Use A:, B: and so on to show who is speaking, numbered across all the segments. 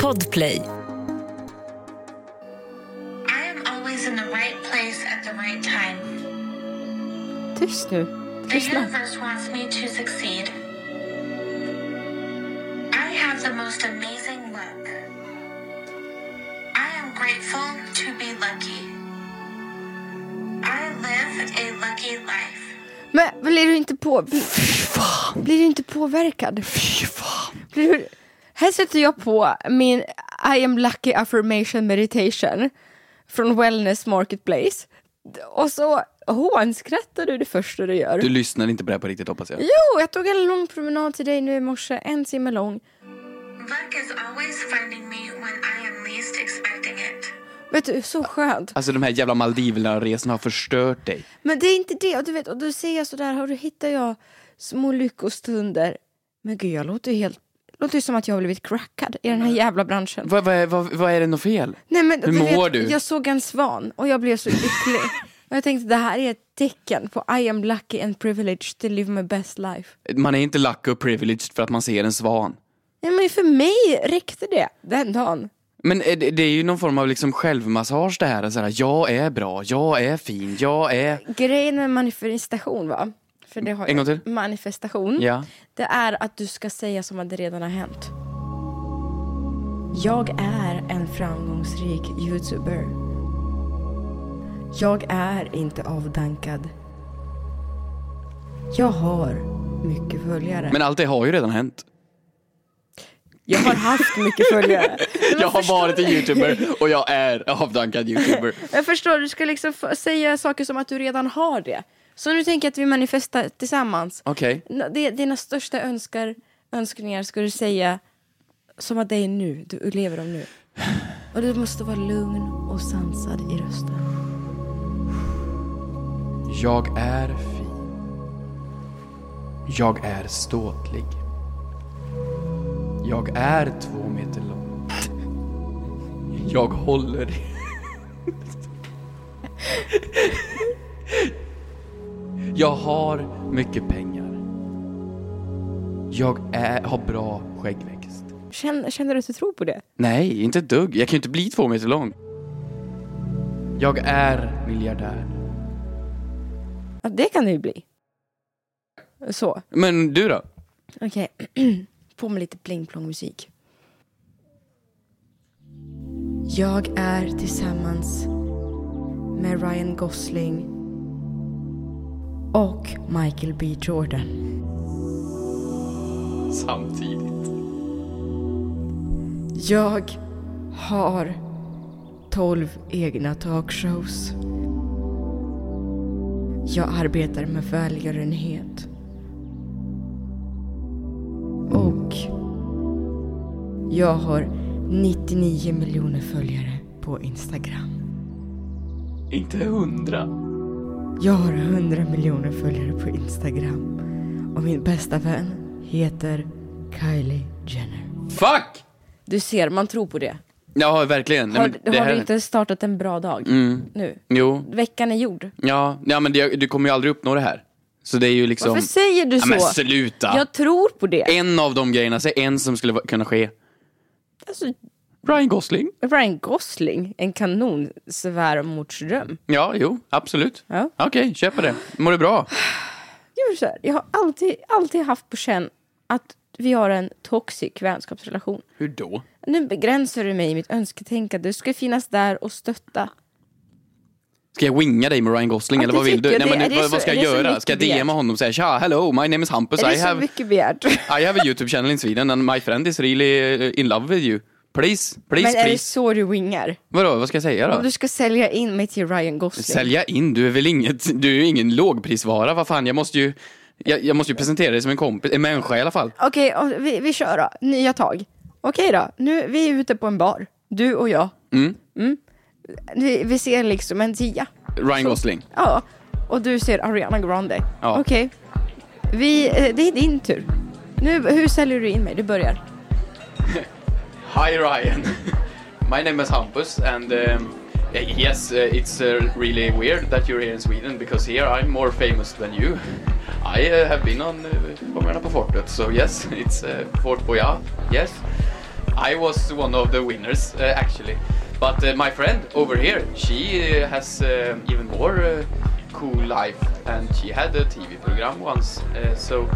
A: Podplay.
B: I am always in the right place at the right time.
C: Tyst nu.
B: The
C: Lyssna.
B: universe wants me to succeed. I have the most amazing luck. I am grateful to be lucky. I live a lucky life.
C: Men blir du inte på... Blir du inte påverkad?
D: Fy fan.
C: Blir du... Här sätter jag på min I am lucky affirmation meditation från Wellness Marketplace. Och så hånskrattar du det första du gör.
D: Du lyssnar inte på det här på riktigt hoppas jag.
C: Jo, jag tog en lång promenad till dig nu i morse, en timme lång.
B: Luck is always finding me when I am least expecting it.
C: Vet du, så skönt.
D: Alltså de här jävla Maldiverna-resorna har förstört dig.
C: Men det är inte det, och du vet, och då ser jag sådär, och då hittar jag små lyckostunder. Men gud, jag låter ju helt... Låter ju som att jag har blivit crackad i den här jävla branschen.
D: Vad vad- vad- vad är det något fel?
C: Nej, men,
D: Mm. Hur mår du?
C: Jag såg en svan och jag blev så lycklig. och jag tänkte det här är ett tecken på I am lucky and privileged to live my best life.
D: Man är inte lucky och privileged för att man ser en svan.
C: Nej men för mig räckte det den dagen.
D: Men är det, det är ju någon form av liksom självmassage det här. Så här. Jag är bra, jag är fin, jag är...
C: Grejen med manifestation va? För det har
D: En
C: jag.
D: gång till.
C: Manifestation.
D: Ja.
C: Det är att du ska säga som att det redan har hänt. Jag är en framgångsrik youtuber. Jag är inte avdankad. Jag har mycket följare.
D: Men allt det har ju redan hänt.
C: Jag har haft mycket följare. Men
D: Jag har
C: förstår
D: varit en
C: du?
D: youtuber och jag är avdankad youtuber.
C: Jag förstår, du ska liksom f- säga saker som att du redan har det. Så nu tänker jag att vi manifestar tillsammans.
D: Okej.
C: N- det- Dina största önskar, önskningar ska du säga som att det är nu, du lever dem nu. Och du måste vara lugn och sansad i rösten.
D: Jag är fin. Jag är ståtlig. Jag är två meter lång. Jag håller... Jag har mycket pengar. Jag är, har bra skäggväxt.
C: Känner, känner du att du tror på det?
D: Nej, inte ett dugg. Jag kan ju inte bli två meter lång. Jag är miljardär.
C: Ja, det kan det ju bli. Så,
D: Men du då?
C: okej. På med lite pling-plong-musik. Jag är tillsammans med Ryan Gosling och Michael B Jordan.
D: Samtidigt.
C: Jag har 12 egna talkshows. Jag arbetar med välgörenhet. Och jag har 99 miljoner följare på Instagram.
D: Inte hundra.
C: Jag har 100 miljoner följare på Instagram. Och min bästa vän heter Kylie Jenner.
D: Fuck!
C: Du ser, man tror på det.
D: Ja, verkligen. Nej,
C: Har,
D: men det
C: har
D: här... Mm.
C: du inte startat en bra dag nu?
D: Jo,
C: Veckan är gjord.
D: ja, ja men det, du kommer ju aldrig uppnå det här. Så det är ju liksom...
C: Varför säger du
D: ja,
C: så?
D: Men sluta! Eh.
C: Jag tror på det.
D: En av de grejerna, säg en som skulle va- kunna ske.
C: Alltså,
D: Ryan Gosling.
C: Ryan Gosling, en kanon svärmorsdröm.
D: Ja, jo, absolut.
C: Ja.
D: Okej, köp på det. Mår du bra?
C: Jag, vill säga, jag har alltid, alltid haft på känn att vi har en toxic vänskapsrelation.
D: Hur då?
C: Nu begränsar du mig i mitt önsketänkande. Du ska finnas där och stötta.
D: Alltså, Ska jag winga dig med Ryan Gosling
C: Ja,
D: eller
C: det
D: vad vill
C: tycker
D: du?
C: jag.
D: Nej,
C: Det-
D: men,
C: är det
D: vad,
C: så-
D: vad ska
C: är
D: jag
C: det så
D: göra?
C: mycket
D: Ska jag DMa
C: begärt?
D: honom och säga tja, hello, my name is Hampus,
C: Är
D: I
C: det så
D: have,
C: mycket begärt?
D: I have a YouTube channel in Sweden and my friend is really eh, in love with you. Please, please,
C: Men är det
D: please.
C: så du wingar?
D: Vadå, vad ska jag säga då?
C: Om du ska sälja in mig till Ryan Gosling.
D: Sälja in? Du är väl inget, du är ju ingen lågprisvara, vad fan, jag måste ju, jag, jag måste ju presentera dig som en kompis, en människa i alla fall.
C: Okej, och vi, vi kör då. Nya tag. Okej då, nu, vi är ute på en bar. Du och jag. Mm. Vi, vi ser liksom en tia.
D: Ryan Gosling.
C: Ja, och du ser Ariana Grande.
D: Ja.
C: Okej. Vi, eh, det är din tur. Nu, hur säljer du in mig? Du börjar.
D: Hi Ryan. My name is Hampus and um, eh, yes, eh, it's eh, really weird that you're here in Sweden because here I'm more famous than you. I eh, uh, have been on eh, Fångarna på fortet, so uh, yes, it's eh, Fort Boyard, yes. I was one of the winners uh, actually. But uh, my friend over here, she uh, has um, even more uh, cool life, and she had a TV program once. Uh, so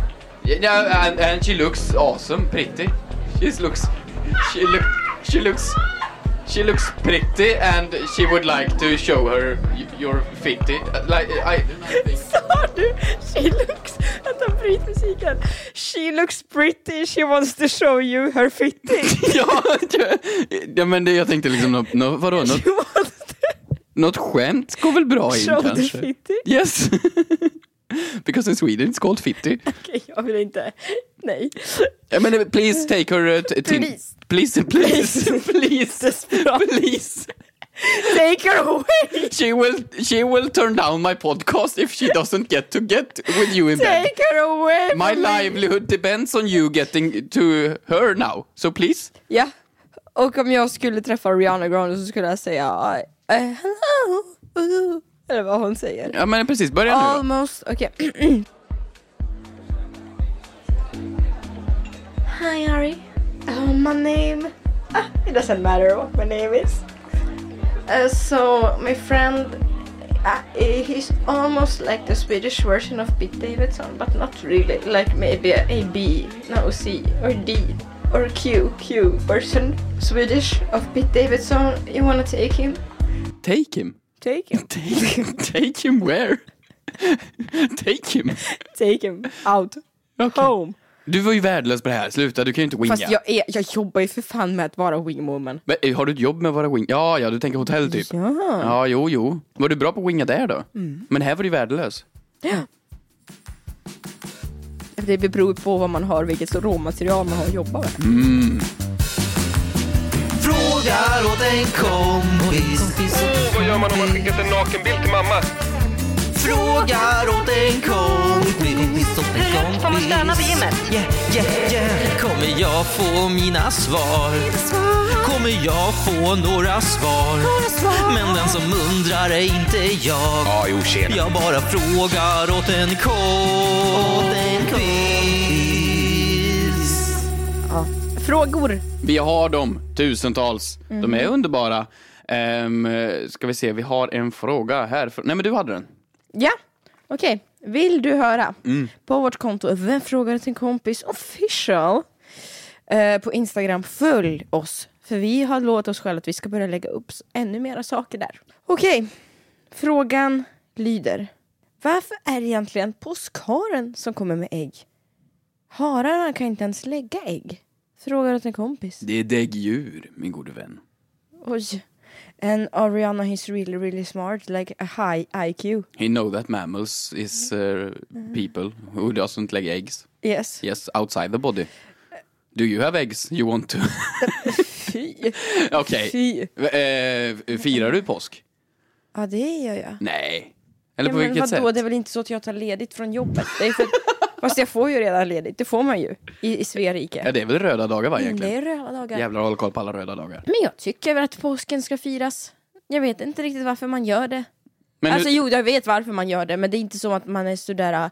D: yeah, no, and, and she looks awesome, pretty. She looks, she look, she looks, she looks pretty, and she would like to show her y- your fitty. Uh, Like I,
C: Sa du? She looks... Vänta, bryt musiken. She looks pretty, she wants to show you her fitting.
D: ja, ja, men det, jag tänkte liksom något, nå vadå, något,
C: She wants to
D: något skämt går väl bra in
C: show the
D: kanske?
C: fitting.
D: Yes. Because in Sweden it's called fitty.
C: Okej, jag vill inte. Nej.
D: I mean, uh, please take her uh, t- tin-
C: Please.
D: Please, please, please,
C: Desperat.
D: please.
C: Take her away!
D: She will, she will turn down my podcast if she doesn't get to get with you in bed.
C: Take her away! from
D: My
C: me.
D: livelihood depends on you getting to her now. So please.
C: Ja. Och om jag skulle träffa Rihanna Grande så skulle jag säga eh, hello! ooh, Eller vad hon säger.
D: Ja men precis, börja nu då.
C: Almost, okej. Hi Ari. Oh, my name. Ah, it doesn't matter what my name is. Uh, so my friend, uh, he's almost like the Swedish version of Pete Davidson, but not really. Like maybe a, a B, no C, or D, or Q, Q version Swedish of Pete Davidson. You wanna take him?
D: Take him.
C: Take him.
D: Take him. Take him where? Take him.
C: Take him out.
D: Okay.
C: Home.
D: Du var ju värdelös på det här, sluta du kan ju inte winga.
C: Fast jag, är, jag jobbar ju för fan med att vara wingwoman.
D: Men, eh, har du ett jobb med att vara wing? Ja, ja, du tänker hotell typ.
C: Ja. Mm.
D: Ja, jo, jo. Var du bra på att winga där då? Men här var du värdelös.
C: Det beror på vad man har, vilket råmaterial man har att jobba med.
A: Frågar åt en kompis.
E: Oh, vad gör man om man skickat en nakenbild till mamma?
A: Frågar åt en kompis. Hur
F: får man stöna vid gymmet?
A: Yeah, yeah, yeah. Kommer jag få mina svar? Kommer jag få några svar? Men den som undrar är inte jag.
E: Ja, jo, tjena.
A: Jag bara frågar åt en kompis.
C: Frågor!
D: Vi har dem, tusentals.
C: Mm.
D: De är underbara. Um, ska vi se, vi har en fråga här. fr- Nej, men du hade den.
C: Ja, okej. Vill du höra? På vårt konto Vem frågar till en kompis official eh, på Instagram, följ oss. För vi har lovat oss själva att vi ska börja lägga upp s- ännu mera saker där. Okej, frågan lyder. Varför är det egentligen påskharen som kommer med ägg? Hararna kan inte ens lägga ägg. Frågar åt en kompis.
D: Det är däggdjur, min gode vän.
C: Oj. And Ariana he's really really smart, like a high IQ.
D: He know that mammals is uh,
C: Mm.
D: people who doesn't lay eggs.
C: Yes.
D: Yes, outside the body. Do you have eggs you want to?
C: Fy.
D: Okej.
C: Fy.
D: Eh, firar du påsk?
C: Ja det gör jag.
D: Nej. Eller
C: ja,
D: på
C: men
D: vilket
C: vadå,
D: sätt?
C: det är väl inte så att jag tar ledigt från jobbet? Det är för att, fast jag får ju redan ledigt, det får man ju i, i Sverige.
D: Ja, det är väl röda dagar va egentligen?
C: Mm, Det är röda dagar.
D: Jävlar håll koll på alla röda dagar.
C: Men jag tycker väl att påsken ska firas. Jag vet inte riktigt varför man gör det.
D: Men
C: alltså
D: hur,
C: jo, jag vet varför man gör det, men det är inte så att man är sådär... äh,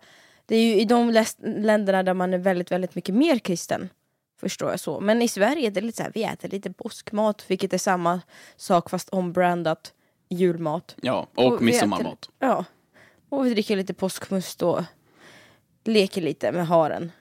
C: Det är ju i de läs- länderna där man är väldigt, väldigt mycket mer kristen. Förstår jag så. Men i Sverige är det lite såhär, vi äter lite påskmat, vilket är samma sak fast ombrandat julmat.
D: ja, och,
C: vi
D: midsommarmat.
C: äter- Ja. Och vi dricker lite påskmust och leker lite med haren.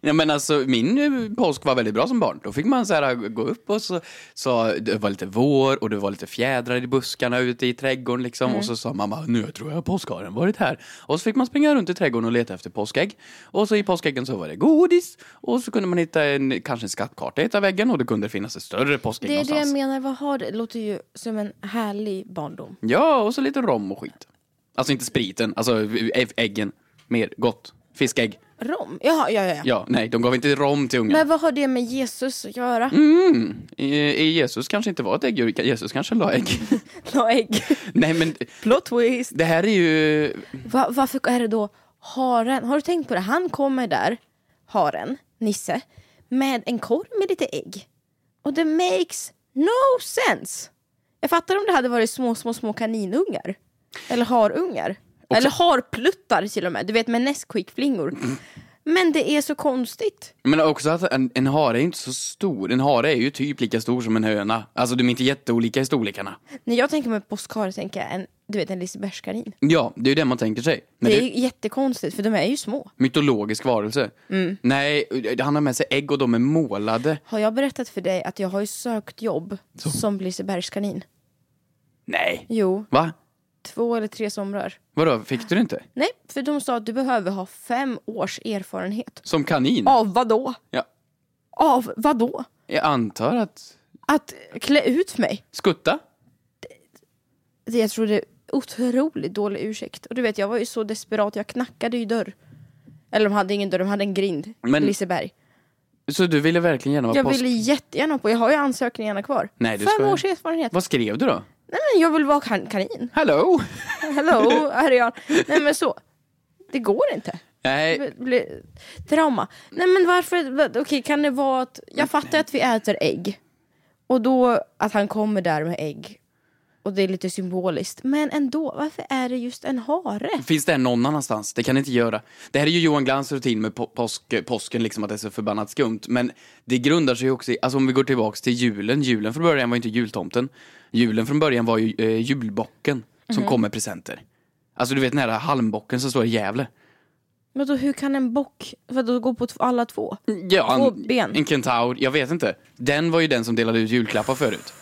D: Ja, men alltså, min eh, påsk var väldigt bra som barn. Då fick man så här, eh, gå upp och så, så det var lite vår och det var lite fjädrar i buskarna ute i trädgården liksom. Och så sa mamma, nu tror jag påskharen varit här. Och så fick man springa runt i trädgården och leta efter påskägg. Och så i påskäggen så var det godis och så kunde man hitta en, kanske en skattkarta i ett av väggen och det kunde finnas ett större påskägg
C: Det är det
D: någonstans.
C: jag menar, vad har det? låter ju som en härlig barndom.
D: Ja, och så lite rom och skit. Alltså inte spriten, alltså ä- äggen. Mer gott. Fiskägg.
C: Rom? Jaha, ja, ja, ja.
D: Ja, nej, de gav inte rom till ungen.
C: Men vad har det med Jesus att göra?
D: I, i Jesus kanske inte var ett äggdjur, Jesus kanske la ägg.
C: La ägg.
D: nej, men
C: Plot twist.
D: det här är ju...
C: Va, varför är det då haren? Har du tänkt på det? Han kommer där, haren, Nisse, med en korg med lite ägg. Och det makes no sense! Jag fattar om det hade varit små, små, små kaninungar.
D: Mm.
C: Eller harungar. Eller harpluttar till och med. Du vet med Nesquik-flingor. Men det är så konstigt.
D: Men också att en, en hare är inte så stor. En hare är ju typ lika stor som en höna. Alltså de är inte jätteolika i storlekarna.
C: När jag tänker mig påskhare tänker jag en, du vet, en lisebergskanin.
D: Ja, det är ju det man tänker sig. Men
C: Det
D: det
C: är
D: är
C: ju jättekonstigt för de är ju små.
D: mytologisk varelse. Nej, han har med sig ägg och de är målade.
C: Har jag berättat för dig att jag har ju sökt jobb som lisebergskanin?
D: Nej.
C: Jo,
D: Va?
C: två eller tre somrar.
D: Vadå, fick du det inte?
C: Nej, för de sa att du behöver ha fem års erfarenhet.
D: Som kanin?
C: Av vad då?
D: Mm. Ja.
C: Av vad då?
D: Jag antar att...
C: Att klä ut mig?
D: Skutta?
C: Det- Jag tror det är otroligt dålig ursäkt. Och du vet, jag var ju så desperat, jag knackade ju dörr. Eller de hade ingen dörr, de hade en grind.
D: Men-
C: Liseberg.
D: Så du ville verkligen gärna vara
C: Jag
D: påsk...
C: ville jättegärna på, jag har ju ansökningarna kvar.
D: Nej, du
C: Fem
D: skojar.
C: års erfarenhet.
D: Vad skrev du då?
C: Nej, men jag vill vara kan- kanin.
D: Hello!
C: Hello, Arian. Nej men så. Det går inte.
D: Nej,
C: Det blir trauma. Nej men varför, vad- okej kan det vara att, jag fattar att vi äter ägg. Och då att han kommer där med ägg. Och det är lite symboliskt. Men ändå, varför är det just en hare?
D: finns det här någon annanstans? Det kan det inte göra. Det här är ju Johan Glans rutin med på- påsk, påsken, liksom att det är så förbannat skumt. Men det grundar sig ju också i, alltså om vi går tillbaks till julen. Julen från början var ju inte jultomten. Julen från början var ju eh, julbocken som kom med presenter. Alltså du vet den här halmbocken som står i Gävle.
C: Men då hur kan en bock, för då gå på t- alla två?
D: Ja,
C: Två
D: en,
C: ben.
D: en kentaur, jag vet inte. Den var ju den som delade ut julklappar förut.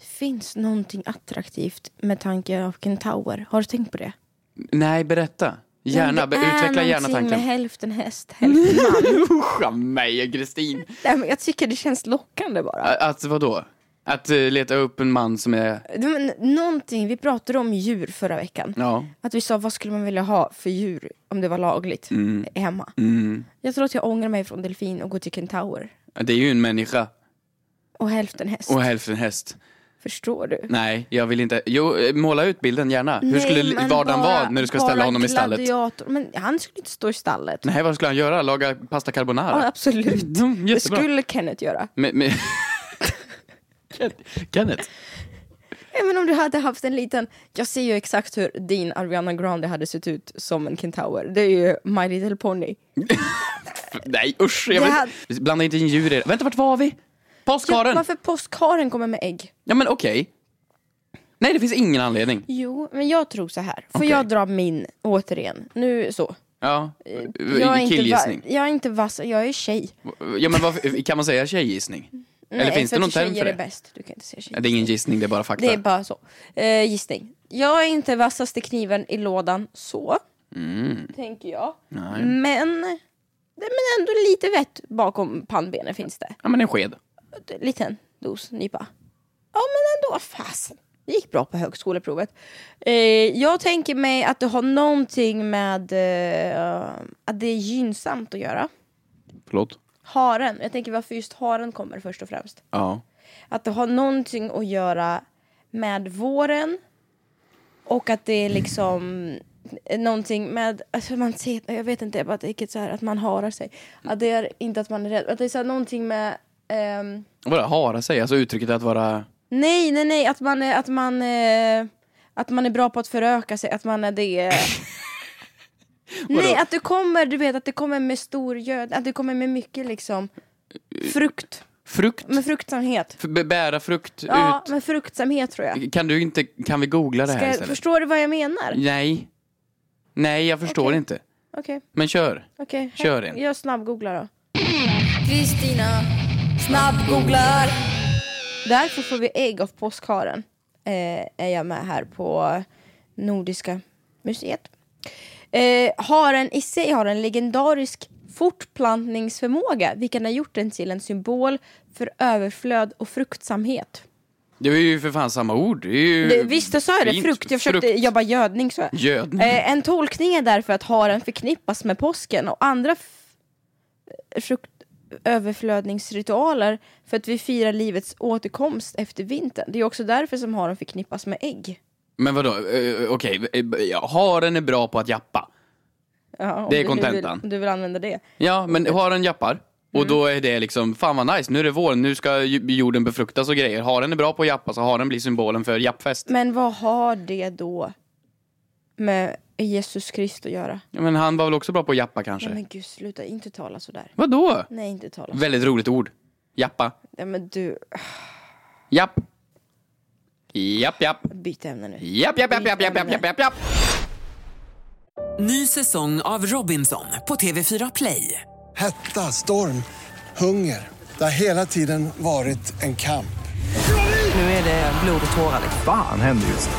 C: Det finns någonting attraktivt med tanken av kentaur. Har du tänkt på det?
D: Nej, berätta. Gärna, be-
C: Det är
D: utveckla gärna
C: någonting
D: tanken.
C: med hälften häst, hälften man.
D: Usch, mig och Kristin.
C: Nej, men jag tycker det känns lockande bara.
D: Ä- Att vadå? Att eh, leta upp en man som är...
C: Men, någonting, vi pratade om djur förra veckan.
D: Ja.
C: Att vi sa vad skulle man vilja ha för djur om det var lagligt
D: Mm.
C: hemma. Jag tror att jag ångrar mig från delfin och går till kentaur.
D: Det är ju en människa
C: Och hälften häst.
D: och hälften häst.
C: Förstår du?
D: Nej, jag vill inte. Jo, eh, måla ut bilden gärna. Hur skulle li-
C: men
D: vardagen
C: bara-
D: vara när du ska
C: bara
D: ställa honom i stallet?
C: gladiator. Men han skulle inte stå i stallet.
D: Nej, vad skulle han göra? Laga pasta
C: Ja,
D: carbonara?
C: absolut.
D: Mm,
C: Det
D: jättebra.
C: skulle Kenneth göra.
D: Men, men... Ken- Kenneth?
C: Även om du hade haft en liten, jag ser ju exakt hur din Ariana Grande hade sett ut som en kentaur. Det är ju My Little Pony.
D: Nej, usch. Jag
C: Det
D: vill... Blanda inte in djur i det. Vänta, vart var vi? Påskharen? Ja,
C: Varför påskharen kommer med ägg?
D: men okej. Nej, det finns ingen anledning.
C: Jo, men jag tror så här. Får
D: Okej.
C: jag dra min återigen? Nu så.
D: Ja,
C: Jag är, inte va-
D: killgissning.
C: jag är inte vass, jag är tjej.
D: Ja, men varför, kan man säga tjejgissning? Eller
C: Nej,
D: finns det
C: att
D: någon term
C: tjejer
D: för det?
C: är bäst. Du kan inte säga tjej.
D: Nej, Det är ingen gissning, det är bara fakta.
C: Det är bara så. Eh, gissning. Jag är inte vassaste kniven i lådan så. Tänker jag.
D: Mm. Nej.
C: Men, det- men ändå lite vett bakom pannbenen finns det.
D: Ja, men en sked.
C: Liten dos nypa. Ja men ändå, fasen. Det gick bra på högskoleprovet. Eh, jag tänker mig att det har någonting med eh, att det är gynnsamt att göra.
D: Förlåt?
C: Haren. Jag tänker varför just haren kommer först och främst.
D: Ja.
C: Att det har någonting att göra med våren och att det är liksom någonting med, alltså man ser, jag vet inte, jag bara tänker så här att man harar sig. Att det är inte att man är rädd, att det är så här någonting med ehm,
D: Vadå, hara sig? Alltså uttrycket att vara...
C: Nej, nej, nej, att man, är- att man, eh, att man är bra på att föröka sig, att man är det. nej,
D: Vadå?
C: att du kommer, du vet, att det kommer med stor göd, att det kommer med mycket liksom frukt,
D: Frukt?
C: med fruktsamhet.
D: F- b- bära frukt
C: Ja,
D: ut?
C: med fruktsamhet tror jag.
D: Kan du inte... Kan vi googla det här
C: Ska, jag-
D: istället?
C: förstår du vad jag menar?
D: Nej. Nej, jag förstår
C: Okej.
D: inte.
C: Okej,
D: Men kör.
C: okej.
D: Kör en.
C: Jag snabbgooglar då.
F: Kristina snabbgooglar.
C: Därför får vi ägg av påskharen. Eh, är jag med här på Nordiska museet. Eh, haren i sig har en legendarisk fortplantningsförmåga vilken har gjort den till en symbol för överflöd och fruktsamhet.
D: Det är ju för fan samma ord. Det är ju...
C: Det, visst, jag sa jag det.
D: fint.
C: Frukt. Jag försökte
D: Frukt.
C: jobba gödning. Så. jag.
D: Gödning.
C: Eh, en tolkning är därför att haren förknippas med påsken och andra f- fruktöverflödningsritualer för att vi firar livets återkomst efter vintern. Det är också därför som haren förknippas med ägg.
D: Men vadå, eh, okej. eh, ja, haren är bra på att jappa.
C: Ja, om
D: Det är
C: du nu vill-
D: kontentan.
C: om Du vill använda det.
D: Ja, men haren jappar.
C: Mm.
D: Och då är det liksom, fan vad nice, nu är det vår, nu ska ju- jorden befruktas och grejer. Haren är bra på att jappa, så haren blir symbolen för jappfest.
C: Men vad har det då med Jesus Krist att göra.
D: Ja, men han var väl också bra på att jappa kanske?
C: Nej men gud sluta, inte tala sådär.
D: Vadå?
C: Nej inte tala så.
D: Väldigt roligt ord. Jappa.
C: Nej men du,
D: Japp. Japp, japp.
C: byt ämne nu.
D: Japp, japp, japp, japp, japp, japp, japp, japp, japp.
G: Ny säsong av Robinson på TV4 Play.
H: Hetta, storm, hunger. Det har hela tiden varit en kamp.
G: Nu är det blod och tårar.
I: Fan händer just nu.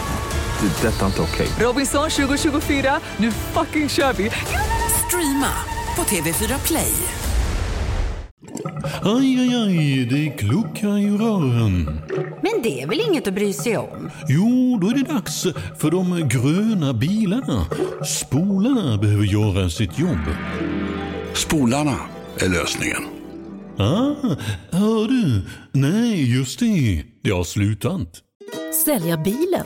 I: Det. är Detta är inte okej.
G: Robinson 2024, nu fucking kör vi! Streama på TV4 Play.
J: Aj, aj, aj, det kluckar i rören.
K: Men det är väl inget att bry sig om?
J: Jo, då är det dags för de gröna bilarna. Spolarna behöver göra sitt jobb.
I: Spolarna är lösningen.
J: Ah, hör du? Nej, just det. Det har slutat.
L: Sälja bilen?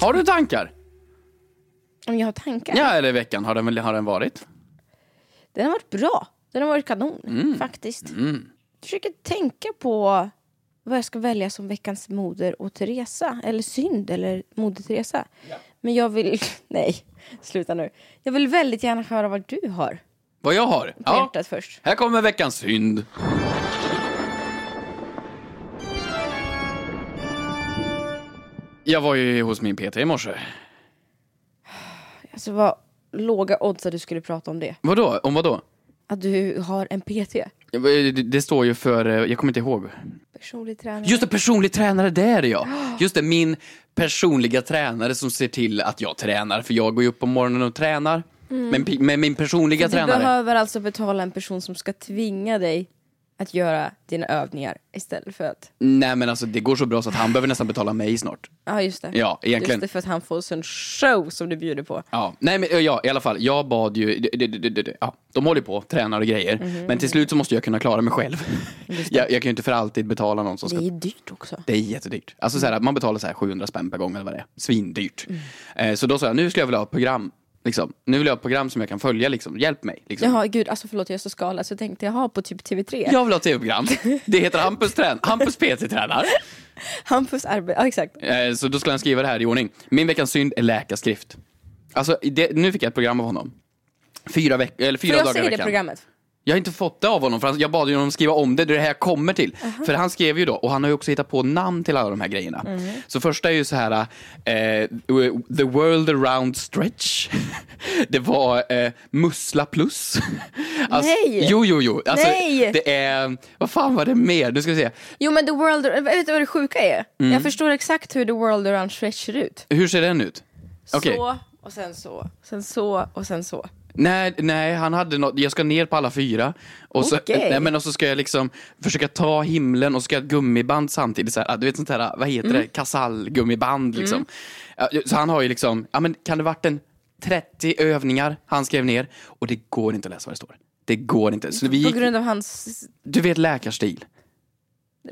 D: Har du tankar?
C: Om jag har tankar?
D: Ja, eller veckan har den, väl- har den varit?
C: Den har varit bra. Den har varit kanon
D: Mm.
C: faktiskt. Jag försöker tänka på vad jag ska välja som veckans moder och Teresa. Eller synd eller moder Teresa. Men jag vill, nej sluta nu. Jag vill väldigt gärna höra vad du har
D: Vad jag har?
C: på hjärtat först.
D: Här kommer veckans synd. Jag var ju hos min PT i morse.
C: Alltså vad låga odds att du skulle prata om det.
D: Vadå? Om vadå?
C: Att du har en PT.
D: Jag- det- Det står ju för, eh, jag kommer inte ihåg.
C: Personlig tränare.
D: Just det, personlig tränare, det är det ja. Just det, min personliga tränare som ser till att jag tränar. För jag går ju upp på morgonen och tränar. Men, pi- men min personliga
C: Mm. du
D: tränare.
C: behöver alltså betala en person som ska tvinga dig att göra dina övningar istället för att...
D: Nej men alltså det går så bra så att han behöver nästan betala mig snart.
C: Ja just det.
D: Ja, egentligen.
C: Just det för att han får en sån show som du bjuder på.
D: Ja, nej men ja, i alla fall. Jag bad ju, det- det- det- det- det- ja, de håller ju på, tränar och grejer.
C: Mhm.
D: Men till slut så måste jag kunna klara mig själv. Jag, jag kan ju inte för alltid betala någon som
C: Det
D: ska...
C: är ju dyrt också.
D: Det är jättedyrt. Alltså så här, man betalar så här 700 spänn per gång eller vad det är. Svindyrt.
C: Mm.
D: Eh, så då sa jag, nu skulle jag vilja ha ett program. Liksom. Nu vill jag ha ett program som jag kan följa, liksom. hjälp mig. Liksom.
C: Jaha gud, alltså förlåt jag är så skala så tänkte jag ha på typ TV3.
D: Jag vill ha ett tv-program. Det heter Hampus, trän- Hampus PT tränar.
C: Hampus arbete, ja exakt.
D: Eh, Så då skulle han skriva det här i ordning. Min veckans synd är läkarskrift. Alltså, det, nu fick jag ett program av honom. Fyra, veck- eller fyra
C: Får jag
D: dagar
C: se
D: i
C: det
D: veckan.
C: programmet?
D: Jag har inte fått det av honom, för han, jag bad ju honom skriva om det, det är det här jag kommer till. För han skrev ju då, och han har ju också hittat på namn till alla de här grejerna.
C: Mm.
D: Så första är ju så här, eh, The World Around Stretch. Det var eh, Mussla Plus. Alltså,
C: Nej!
D: Jo, jo, jo. Alltså,
C: Nej!
D: Det är, vad fan var det mer? Nu ska vi se.
C: Jo men The World, vet du vad det sjuka är?
D: Mm.
C: Jag förstår exakt hur The World Around Stretch ser ut.
D: Hur ser den ut? Okej.
C: Så, och sen så, sen så och sen så.
D: Nej, nej, han hade något, jag ska ner på alla fyra. Och så,
C: Okej.
D: nej, men och så ska jag liksom försöka ta himlen och så ska jag ha ett gummiband samtidigt. Så här, Ah, du vet sånt här, vad heter
C: Mm.
D: det, kasallgummiband liksom. Ja, Så han har ju liksom, ja men kan det varit en 30 övningar han skrev ner? Och det går inte att läsa vad det står. Det går inte. Så vi
C: På
D: gick,
C: grund av hans,
D: du vet läkarstil.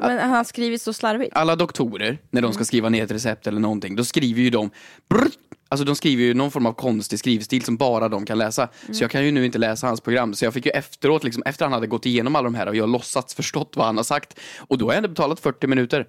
C: men han har skrivit så slarvigt.
D: Alla doktorer, när de ska skriva ner ett recept eller någonting, då skriver ju de brr, Alltså de skriver ju någon form av konstig skrivstil som bara de kan läsa. Så jag kan ju nu inte läsa hans program. Så jag fick ju efteråt, liksom, efter han hade gått igenom alla de här och jag låtsats förstått vad han har sagt. Och då har jag ändå betalat 40 minuter.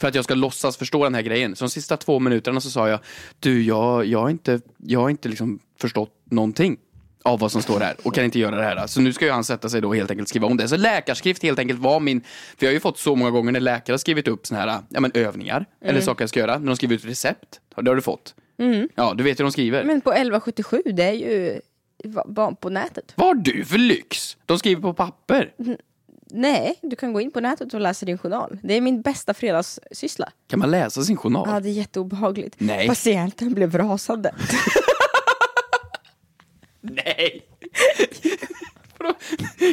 D: För att jag ska låtsas förstå den här grejen. Så de sista två minuterna så sa jag, du jag, jag har inte, jag har inte liksom förstått någonting av vad som står här och kan inte göra det här. Så nu ska ju han sätta sig då och helt enkelt skriva om det. Så läkarskrift helt enkelt var min, för jag har ju fått så många gånger när läkare har skrivit upp såna här ja, men övningar eller
C: Mm.
D: saker jag ska göra. När de skriver ut recept, det har du fått. Ja, du vet hur de skriver.
C: Men på 1177, det är ju va- barn på nätet.
D: Vad har du för lyx? De skriver på papper.
C: Mm. Nej, du kan gå in på nätet och läsa din journal. Det är min bästa fredagssyssla.
D: Kan man läsa sin journal?
C: Ja, det är jätteobehagligt.
D: Nej.
C: Patienten blev rasande.
D: Nej!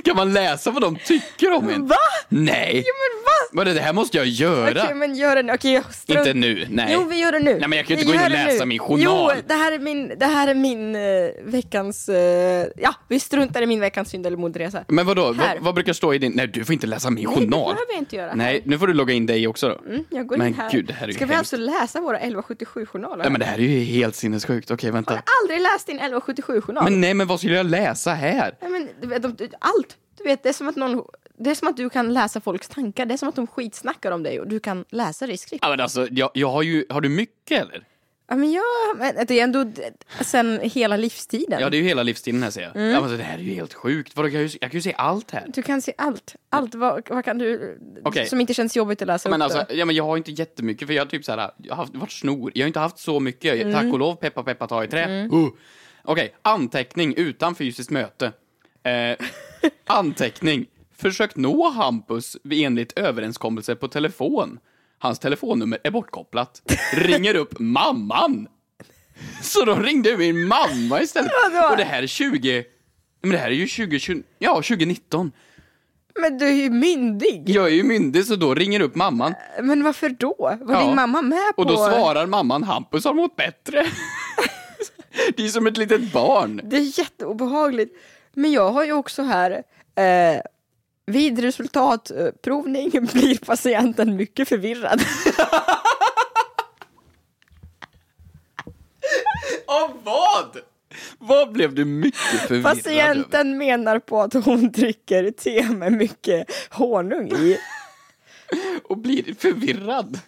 D: Kan man läsa vad de tycker om en?
C: Va?
D: Nej!
C: Ja, men va?
D: Vadå, det här måste jag göra.
C: Okej, men gör det nu. Okej, jag strunt-
D: Inte nu, nej.
C: Jo, vi gör det nu.
D: Nej, men jag kan ju
C: Vi
D: inte gå in
C: gör
D: och
C: det nu.
D: läsa min journal.
C: Jo, det här är min, det här är min eh, veckans... eh, ja, vi struntar i min veckans synd eller modresa.
D: Men vadå,
C: Här.
D: vad, vad brukar stå i din... Nej, du får inte läsa min
C: Nej, det
D: journal.
C: behöver jag inte göra.
D: Nej, nu får du logga in dig också då.
C: Mm, jag går
D: men
C: in här.
D: gud, det här är ju
C: Ska vi
D: hemskt.
C: alltså läsa våra 1177-journaler?
D: Nej, men det här är ju helt sinnessjukt. Okej,
C: Har
D: vänta.
C: du aldrig läst din 1177-journal?
D: Men nej, men vad skulle jag läsa här?
C: Nej, men du vet, de, de, allt! Du vet, det är som att någon... Det är som att du kan läsa folks tankar. Det är som att de skitsnackar om dig och du kan läsa det i skrift.
D: Ja, men alltså, jag, jag har ju... Har du mycket eller?
C: Ja, men jag... Men det är ändå d- sen hela livstiden.
D: Ja, det är ju hela livstiden här ser jag.
C: Mm.
D: Ja, men alltså, det här är ju helt sjukt. Vadå, jag, kan ju- jag kan ju se allt här.
C: Du kan se allt. Allt vad, vad kan du...
D: Okej.
C: Som inte känns jobbigt att läsa
D: Men
C: upp
D: alltså,
C: då.
D: ja, men jag har inte jättemycket för jag har typ så här, jag har haft, varit snor. Jag har inte haft så mycket.
C: Mm.
D: Tack och lov, peppa peppa ta i trä.
C: Mm.
D: Uh. Okej, anteckning utan fysiskt möte. Eh, anteckning. Försökt nå Hampus enligt överenskommelse på telefon. Hans telefonnummer är bortkopplat. Ringer upp mamman. Så då ringde min mamma istället.
C: Vadå?
D: Och det här är 20... Men det här är ju 20, 20 ja, 2019.
C: Men du är ju myndig!
D: Jag är ju myndig så då ringer upp mamman.
C: Men varför då? Var
D: Ja.
C: din mamma med på...
D: Och då svarar mamman Hampus har mått bättre. det är som ett litet barn.
C: Det är jätteobehagligt. Men jag har ju också här... Eh, vid resultatprovning blir patienten mycket förvirrad.
D: Av vad? Vad blev du mycket förvirrad över?
C: Patienten menar på att hon dricker te med mycket honung i.
D: Och blir förvirrad.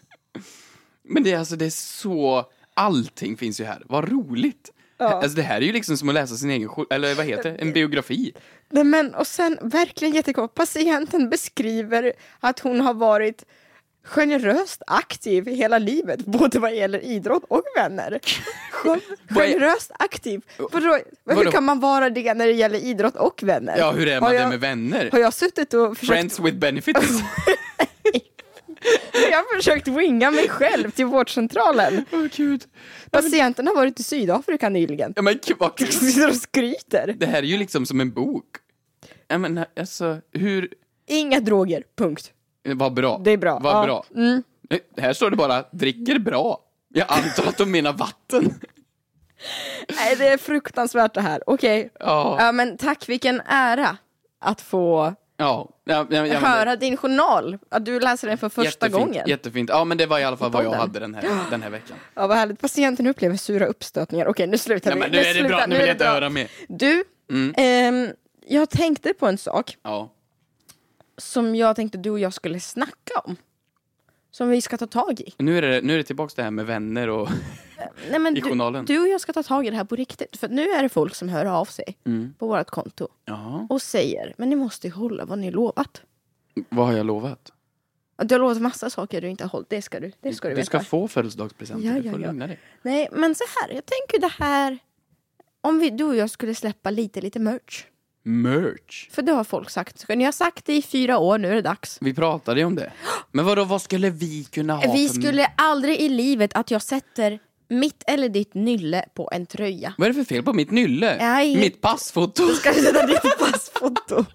D: Men det är alltså, det är så... Allting finns ju här. Vad roligt.
C: Ja.
D: Alltså det här är ju liksom som att läsa sin egen, jour- eller vad heter det, en biografi.
C: Nej, men, och sen verkligen jättekort. Patienten beskriver att hon har varit generöst aktiv hela livet, både vad gäller idrott och vänner.
D: Vad är-
C: generöst aktiv? Vadå,
D: Vadå?
C: hur kan man vara det när det gäller idrott och vänner?
D: Ja, hur är man
C: Har
D: det
C: jag-
D: med vänner?
C: Har jag suttit och försökt,
D: Friends with benefits.
C: jag har försökt winga mig själv till vårdcentralen?
D: Åh Gud.
C: Patienten har varit i Sydafrika nyligen.
D: ja, men gud, vad kul.
C: Sitter och skryter.
D: Det här är ju liksom som en bok. Ja, men alltså, hur...
C: Inga droger, punkt.
D: Vad bra.
C: Det är bra.
D: Vad
C: Ja.
D: bra.
C: Mm.
D: Nej, Här står det bara dricker bra. Jag antar att de menar vatten.
C: Nej, det är fruktansvärt det här. Okej.
D: Ja.
C: Ja, men tack, vilken ära att få
D: Ja, ja, ja, ja, men-
C: höra din journal. Att du läser den för första
D: jättefint,
C: gången.
D: Jättefint. Ja, men det var i alla fall vad jag
C: podden.
D: hade den här, den här veckan.
C: Ja, vad härligt. Patienten upplever sura uppstötningar. Okej, nu slutar
D: Nej,
C: vi.
D: men nu är det
C: slutar-
D: bra. Nu vill jag inte
C: bra.
D: höra mer.
C: Du,
D: Mm.
C: ehm, jag tänkte på en sak
D: Ja.
C: som jag tänkte du och jag skulle snacka om. Som vi ska ta tag i.
D: Nu är det, nu är det tillbaka det här med vänner och...
C: Nej, men
D: I
C: du,
D: journalen.
C: du och jag ska ta tag i det här på riktigt. För nu är det folk som hör av sig
D: Mm.
C: på vårt konto
D: Ja.
C: och säger men ni måste ju hålla vad ni lovat.
D: Vad har jag lovat?
C: Att Du har lovat massa saker du inte har hållit. Det ska du, det ska du,
D: Du ska
C: veta.
D: få födelsedagspresenter.
C: Ja,
D: Du
C: ja,
D: får
C: ja.
D: lugna dig.
C: Nej, men så här. Jag tänker det här. Om vi, du och jag skulle släppa lite, lite merch.
D: Merch.
C: För det har folk sagt. Så Ni har sagt det i fyra år, nu är det dags.
D: Vi pratade ju om det. Men vadå, vad skulle vi kunna ha
C: Vi
D: för-
C: skulle aldrig i livet att jag sätter mitt eller ditt nylle på en tröja.
D: Vad är det för fel på mitt nylle?
C: Nej.
D: Mitt passfoto?
C: Ska du sätta ditt passfoto?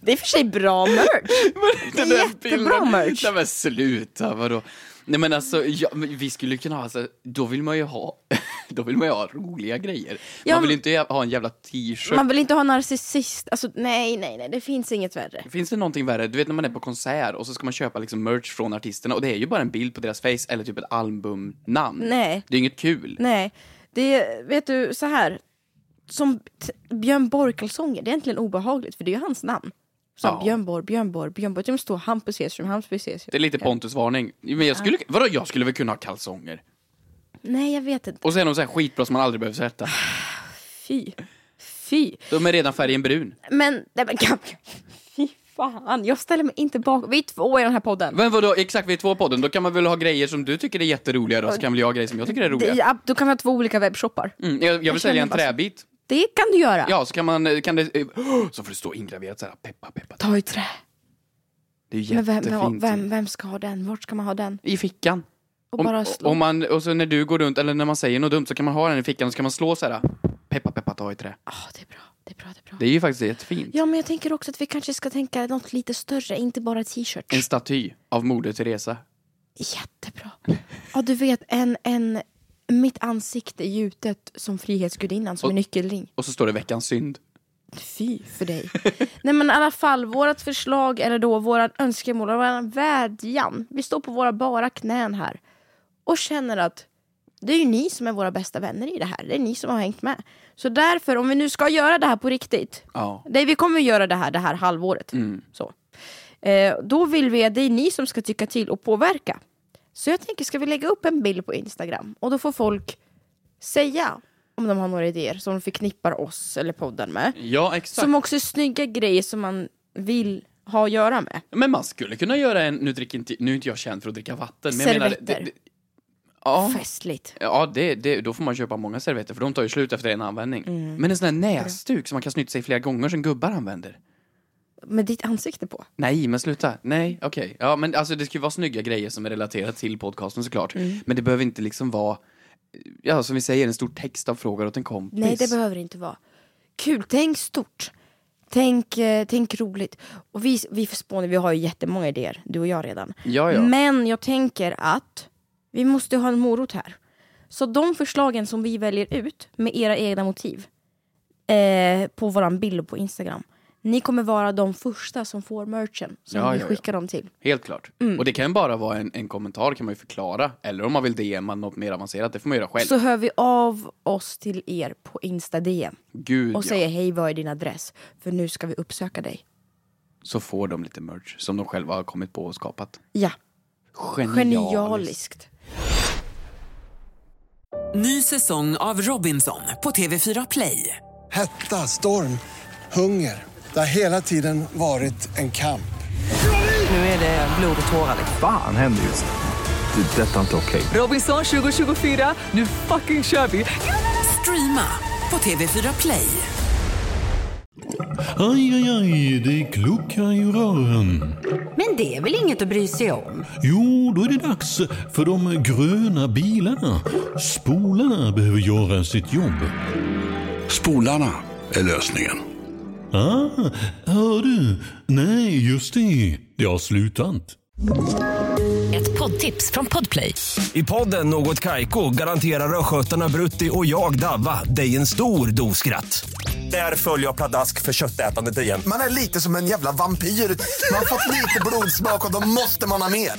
C: Det är i och för sig bra merch.
D: Den
C: Det är
D: där
C: jättebra
D: bilden.
C: merch.
D: Nej men sluta, vadå? Nej men alltså, ja, men vi skulle kunna ha, alltså, då vill man ju ha, då vill man ju ha roliga grejer.
C: Ja,
D: man vill
C: men-
D: inte jä- ha en jävla t-shirt.
C: Man vill inte ha narcissist. Alltså, nej, nej, nej, det finns inget värre.
D: Finns det någonting värre? Du vet när man är på konsert och så ska man köpa liksom merch från artisterna och det är ju bara en bild på deras face eller typ ett albumnamn.
C: Nej.
D: Det är inget kul.
C: Nej, det är, vet du, så här. Som t- Björn Borg-kalsonger, det är egentligen obehagligt för det är ju hans namn. Som
D: Ja.
C: Björn Borg, Björn Borg, Björn Borg. Det står Hampus Hedström, Hampus Hedström.
D: Det är lite Pontus-varning. Men jag skulle, vadå, jag skulle väl kunna ha kalsonger?
C: Nej, jag vet inte.
D: Och sen de så här skitbra som man aldrig behöver sätta.
C: Fy. Fy.
D: De är redan färgen brun.
C: Men, nej men kan- Fy fan, jag ställer mig inte bakom. Vi är två i den här podden.
D: Men vadå, exakt, vi är två podden. Då kan man väl ha grejer som du tycker är jätteroliga då, så kan väl jag ha grejer som jag tycker är
C: Det,
D: roliga.
C: ja, då kan vi ha två olika webbshoppar.
D: Mm, jag, jag
C: Jag
D: vill sälja en
C: känner bara så.
D: träbit.
C: Det kan du göra.
D: Ja, så kan man, kan det, eh, så får det stå ingraverat så här, peppa, peppa.
C: Ta i trä.
D: Det är
C: Men
D: jättefint.
C: vem, vem, vem, vem ska ha den? Vart ska man ha den?
D: I fickan.
C: Och
D: Om,
C: bara slå.
D: om man, och så när du går runt, eller när man säger något dumt så kan man ha den i fickan och så kan man slå så här, peppa, peppa, ta i trä.
C: Ja, det är bra. Det är bra, det är bra.
D: Det är ju faktiskt jättefint.
C: Ja, men jag tänker också att vi kanske ska tänka något lite större, inte bara t-shirts.
D: En staty av Moder Teresa.
C: Jättebra. Ja, du vet, en, en, mitt ansikte gjutet som Frihetsgudinnan som
D: Och-
C: en nyckelring.
D: Och så står det veckans synd.
C: Fy för dig. Nej men i alla fall, vårt förslag eller då våran önskemål och våran vädjan. Vi står på våra bara knän här och känner att det är ju ni som är våra bästa vänner i det här. Det är ni som har hängt med. Så därför, om vi nu ska göra det här på riktigt.
D: Ja.
C: Nej, vi kommer göra det här det här halvåret.
D: Mm.
C: Så. Eh, då vill vi att det är ni som ska tycka till och påverka. Så jag tänker, ska vi lägga upp en bild på Instagram? Och då får folk säga om de har några idéer som de förknippar oss eller podden med.
D: Ja, exakt.
C: Som också är snygga grejer som man vill ha att göra med.
D: Men man skulle kunna göra en, nu, dricker inte, nu är inte jag känd för att dricka vatten. Men jag menar,
C: Servetter.
D: det- det- ja.
C: Festligt.
D: Ja, det, det, då får man köpa många servetter för de tar ju slut efter en användning.
C: Mm.
D: Men en sån här näsduk som man kan snyta sig flera gånger som gubbar använder.
C: Med ditt ansikte på.
D: Nej, men sluta. Nej, okej. Ja, men alltså det ska ju vara snygga grejer som är relaterade till podcasten såklart.
C: Mm.
D: Men det behöver inte liksom vara, ja som vi säger, en stor text av frågor åt en kompis.
C: Nej, det behöver det inte vara. Kul, tänk stort. Tänk, eh, tänk roligt. Och vi, vi för Spåne, vi har ju jättemånga idéer, du och jag redan.
D: Ja, ja.
C: Men jag tänker att vi måste ha en morot här. Så de förslagen som vi väljer ut med era egna motiv eh, på våran bild på Instagram. Ni kommer vara de första som får merchen som
D: Ja,
C: vi
D: ja, ja.
C: skickar dem till.
D: Helt klart.
C: Mm.
D: Och det kan bara vara en, en kommentar kan man ju förklara. Eller om man vill DMa något mer avancerat, det får man göra själv.
C: Så hör vi av oss till er på Insta DM
D: Gud
C: och
D: ja.
C: säger hej vad är din adress? För nu ska vi uppsöka dig.
D: Så får de lite merch som de själva har kommit på och skapat.
C: Ja.
D: Genialiskt.
G: Genialiskt. Ny säsong av Robinson på TV4 Play.
H: Hetta, storm, hunger. Det har hela tiden varit en kamp.
G: Nu är det blod och tårar. liksom.
I: Fan händer just det. Det är detta inte okej.
G: Robinson 2024, nu fucking kör vi! Streama på TV4 Play.
J: Aj, aj, aj, det kluckar i rören.
K: Men det är väl inget att bry sig om?
J: Jo, då är det dags för de gröna bilarna. Spolarna behöver göra sitt jobb. Spolarna är lösningen. Ah, hör du? Nej, just det. Det har slutat.
L: Ett poddtips från Podplay.
M: I podden Något Kaiko garanterar östgötarna Brutti och jag, Davva, dig en stor dos skratt. Där följer jag pladask för köttätandet igen.
N: Man är lite som en jävla vampyr. Man har fått lite blodsmak och då måste man ha mer.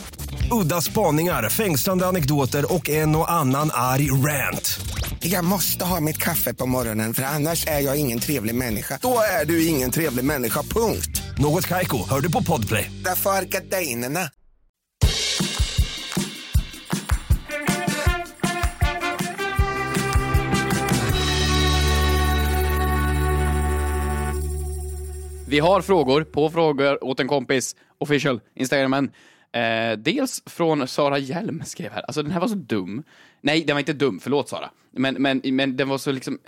M: Udda spaningar, fängslande anekdoter och en och annan arg rant.
N: Jag måste ha mitt kaffe på morgonen för annars är jag ingen trevlig människa. Då är du ingen trevlig människa, punkt.
M: Något Kaiko, hör du på podplay.
N: Därför är gardinerna.
D: Vi har frågor på frågor åt en kompis, official, instagrammen. Eh, dels från Sara Hjelm skrev här, alltså den här var så dum. Nej, den var inte dum, förlåt Sara. Men, men, men den var så liksom,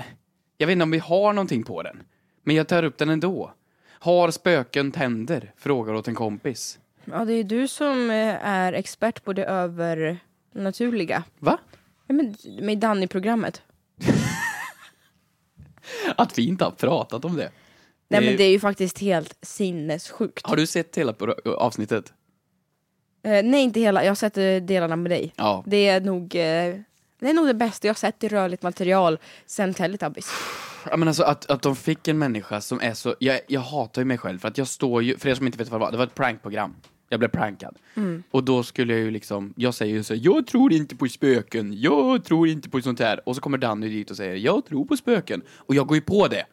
D: jag vet inte om vi har någonting på den. Men jag tar upp den ändå. Har spöken tänder? Frågar åt en kompis.
C: Ja, det är du som eh, är expert på det övernaturliga.
D: Va?
C: Ja, men med Danny-programmet.
D: Att vi inte har pratat om det.
C: Nej
D: Det är-
C: men det är ju faktiskt helt sinnessjukt.
D: Har du sett hela pro- avsnittet?
C: Eh, nej inte hela, jag har sett eh, delarna med dig.
D: Ja.
C: Det är nog eh, det är nog det bästa jag har sett i rörligt material sen Teletubbies.
D: Ja, men alltså att, att de fick en människa som är så, jag, jag hatar ju mig själv för att jag står ju, för er som inte vet vad det var, det var ett prankprogram. Jag blev prankad.
O: Mm.
D: Och då skulle jag ju liksom, jag säger ju så här, jag tror inte på spöken, jag tror inte på sånt här. Och så kommer Danny dit och säger, jag tror på spöken. Och jag går ju på det.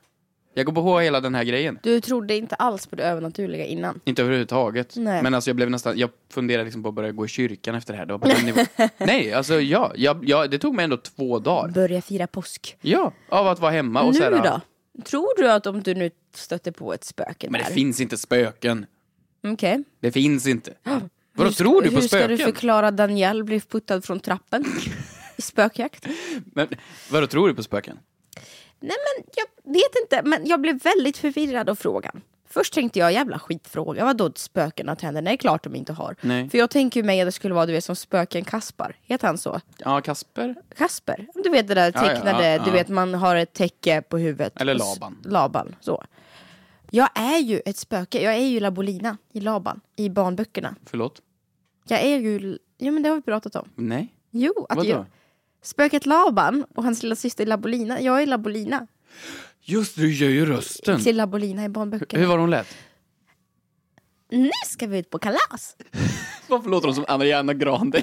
D: Jag går på hela den här grejen.
C: Du trodde inte alls på det övernaturliga innan.
D: Inte överhuvudtaget.
C: Nej.
D: Men alltså jag blev nästan, jag funderade liksom på att börja gå i kyrkan efter det här. Det var på den nivån. Nej, alltså ja, jag, jag, det tog mig ändå två dagar.
C: Börja fira påsk.
D: Ja, av att vara hemma och så
C: nu
D: här,
C: då? Tror du att om du nu stöter på ett spöke
D: Men
C: där?
D: det finns inte spöken.
C: Okej.
D: Det finns inte. Vadå,
C: Hur ska-
D: tror du på
C: Hur ska du
D: spöken?
C: förklara att Daniel blev puttad från trappen i spökjakt?
D: Men, vadå, tror du på spöken?
C: Nej men jag vet inte, men jag blev väldigt förvirrad av frågan. Först tänkte jag, jävla skitfråga, vadå spöken har tänder? Nej, klart de inte har.
D: Nej.
C: För jag tänker ju mig att det skulle vara du vet, som spöken Kaspar, heter han så?
D: Ja, Kasper?
C: Kasper, du vet det där
D: Ja, ja,
C: tecknade,
D: ja, ja.
C: du vet man har ett täcke på huvudet.
D: Eller
C: Och s-
D: Laban.
C: Laban, så. Jag är ju ett spöke, jag är ju Labolina i Laban, i barnböckerna.
D: Förlåt?
C: Jag är ju, ja men det har vi pratat om.
D: Nej?
C: Jo, att
D: Vadå?
C: jag, spöket Laban och hans lilla syster Labolina, jag är Labolina.
D: Mm. Just det, du gör ju rösten.
C: Till Labolina i barnböckerna.
D: Hur var hon lät?
C: Nu ska vi ut på kalas!
D: Varför låter hon som Ariana Grande?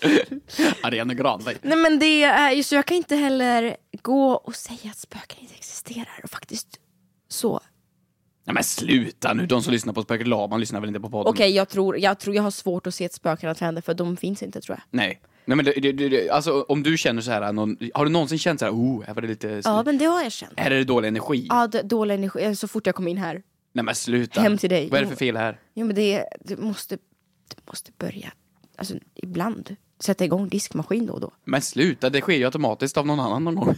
D: Ariana Grande.
C: Nej men det är ju så, jag kan inte heller gå och säga att spöken inte existerar och faktiskt så.
D: Nej men sluta nu, de som lyssnar på Spöket Laban lyssnar väl inte på podden?
C: Okej, jag, tror, jag tror jag har svårt att se ett spöke i tänder för de finns inte tror jag.
D: Nej. Nej men det, det, det, alltså om du känner så här, någon, har du någonsin känt så här, oh, här var det lite...
C: Ja men det har jag känt.
D: Här är det dålig energi.
C: Ja, d- dålig energi, Eh, så fort jag kom in här.
D: Nej men sluta.
C: Hem till dig.
D: Vad är det för fel här?
C: Jo men det, du måste, du måste börja, alltså ibland, sätta igång diskmaskin då och då.
D: Men sluta, det sker ju automatiskt av någon annan någon gång.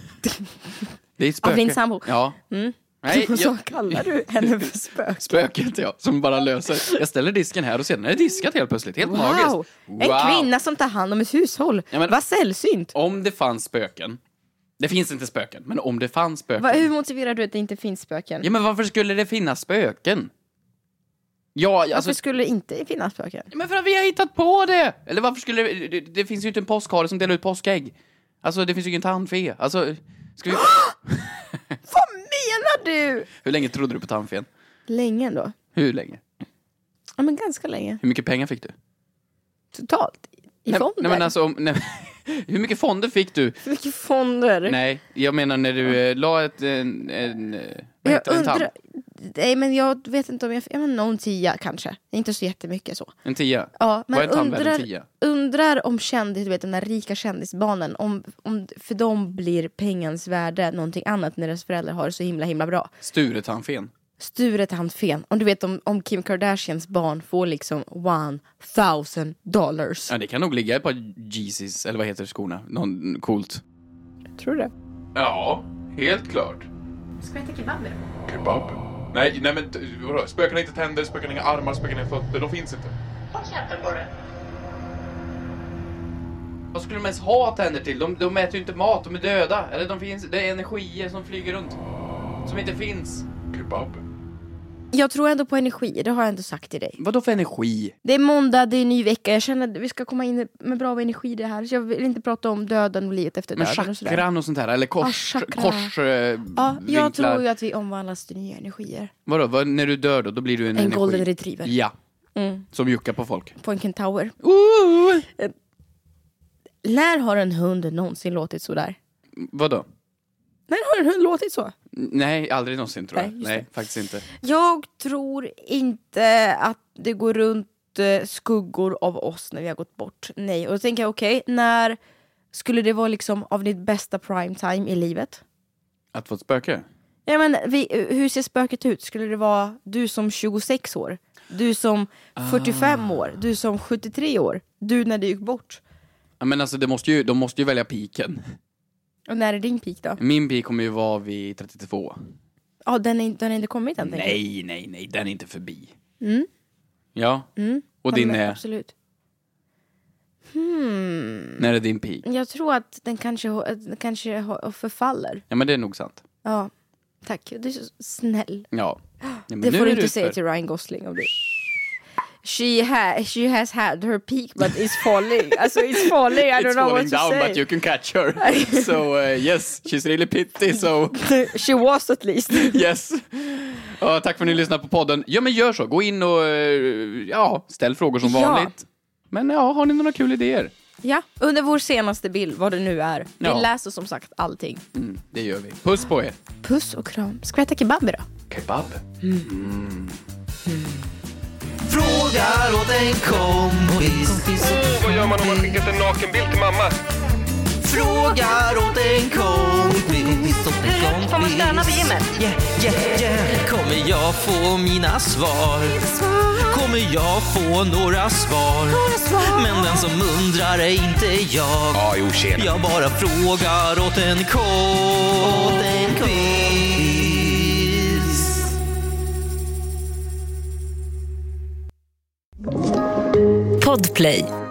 D: Det är ett spöke.
C: Av din sambo?
D: Ja.
C: Mm.
D: Nej,
C: Och så
D: jag-
C: kallar du henne för spöke.
D: Spöket ja, som bara löser. Jag ställer disken här och sedan är det diskat helt plötsligt. Helt
C: Wow!
D: magiskt.
C: En kvinna som tar hand om ett hushåll.
D: Ja, men-
C: Vad sällsynt.
D: Om det fanns spöken. Det finns inte spöken, men om det fanns spöken.
C: Va, hur motiverar du att det inte finns spöken?
D: Ja, men varför skulle det finnas spöken? Ja, alltså...
C: Varför skulle det inte finnas spöken?
D: Men för att vi har hittat på det! Eller varför skulle det... Det, det finns ju inte en påskhare som delar ut påskägg. Alltså, det finns ju ingen tandfe. Alltså, ska vi...
C: Vad menar du?
D: Hur länge trodde du på tandfen?
C: Länge då?
D: Hur länge?
C: Ja men ganska länge.
D: Hur mycket pengar fick du?
C: Totalt? I
D: nej,
C: fonder?
D: Nej, men alltså, om, nej, hur mycket fonder fick du?
C: Hur mycket fonder?
D: Nej, jag menar när du eh, la ett, en, en, eh,
C: jag
D: vad heter det, en tand.
C: undrar. Nej men jag vet inte om jag... Ja men någon tia kanske. Inte så jättemycket så.
D: En tia?
C: Ja, men
D: Vad är en tand värd? En
C: undrar,
D: tia?
C: undrar om kändis, du vet den där rika kändisbarnen, om, om, för de blir pengens värde någonting annat när deras föräldrar har det så himla himla bra.
D: Sturetandfen?
C: Sturetandfen. Om du vet om, om Kim Kardashians barn får liksom one thousand dollars.
D: Ja, det kan nog ligga ett par Yeezys, eller vad heter skorna? Någon coolt.
C: Tror du det?
O: Ja, helt klart.
C: Ska vi äta kebab nu?
O: Kebab? Nej, nej men t- vadå? spöken har inte tänder, spöken har inga armar, spöken har inga fötter. De finns inte.
D: Vad skulle de ens ha tänder till? De, de äter ju inte mat, de är döda. Eller de finns, det är energier som flyger runt. Som inte finns.
O: Kebab?
C: Jag tror ändå på energi, det har jag ändå sagt till dig.
D: Vadå för energi?
C: Det är måndag, det är ny vecka, jag känner att vi ska komma in med bra energi i det här. Så jag vill inte prata om döden och livet efter
D: Men
C: döden och sådär.
D: chakran och sånt här, eller kors...
C: Ja, chakra.
D: kors eh,
C: Ja, jag
D: vinklar.
C: tror ju att vi omvandlas till nya energier.
D: Vadå, vad, när du dör då, då blir du en
C: En
D: energi.
C: golden retriever.
D: Ja,
C: Mm.
D: som juckar på folk.
C: På en kentaur. Eh, När har en hund någonsin låtit sådär?
D: Vadå?
C: När har en hund låtit så?
D: Nej, aldrig någonsin tror jag.
C: Nej, just
D: Nej, faktiskt inte.
C: Jag tror inte att det går runt eh, skuggor av oss när vi har gått bort. Nej, och då tänker jag okej, när skulle det vara liksom av ditt bästa prime time i livet?
D: Att få ett spöke?
C: Ja, men vi, hur ser spöket ut? Skulle det vara du som 26 år? Du som 45
D: Ah.
C: år? Du som 73 år? Du när du gick bort?
D: Ja, men alltså, det måste ju, de måste ju välja piken.
C: Och när är din peak då?
D: Min pik kommer ju vara vid 32.
C: Ja, den, är, den har inte kommit än tänker jag.
D: Nej, nej, nej, den är inte förbi.
C: Mm,
D: Ja,
C: mm.
D: och
C: Ja,
D: din
C: men
D: är,
C: Absolut. Hmm.
D: när är din pik?
C: Jag tror att den kanske, har- den kanske har- förfaller.
D: Ja, men det är nog sant.
C: Ja, tack. Du är så snäll.
D: Ja. Nej, men
C: det
D: nu
C: får
D: är
C: du inte
D: utför.
C: säga till Ryan Gosling om du... She, ha, she has had her peak but it's falling. alltså it's falling, I don't
D: It's
C: know what
D: falling
C: to
D: down
C: say.
D: but you can catch her. so uh, yes, she's really pitty so
C: She was at least.
D: yes. Ja, tack för att ni lyssnar på podden. Ja men gör så, gå in och eh, ja, ställ frågor som
C: Ja.
D: vanligt. Men ja, har ni några kul idéer?
C: Ja, under vår senaste bild, vad det nu är. Vi
D: Ja.
C: läser som sagt allting.
D: Mm, det gör vi. Puss på er.
C: Puss och kram. Ska vi äta kebab idag?
D: Kebab. Mm.
A: Frågar åt en kompis.
E: Åh, vad gör man om man skickat en nakenbild till mamma?
A: Frågar åt en kompis. Åt en kompis.
K: Får man stöna på gymmet?
A: Yeah, yeah. Kommer jag få mina svar? Kommer jag få några svar? Men den som undrar är inte jag.
M: Ja, jo, tjena.
A: Jag bara frågar åt en kompis.
L: Podplay.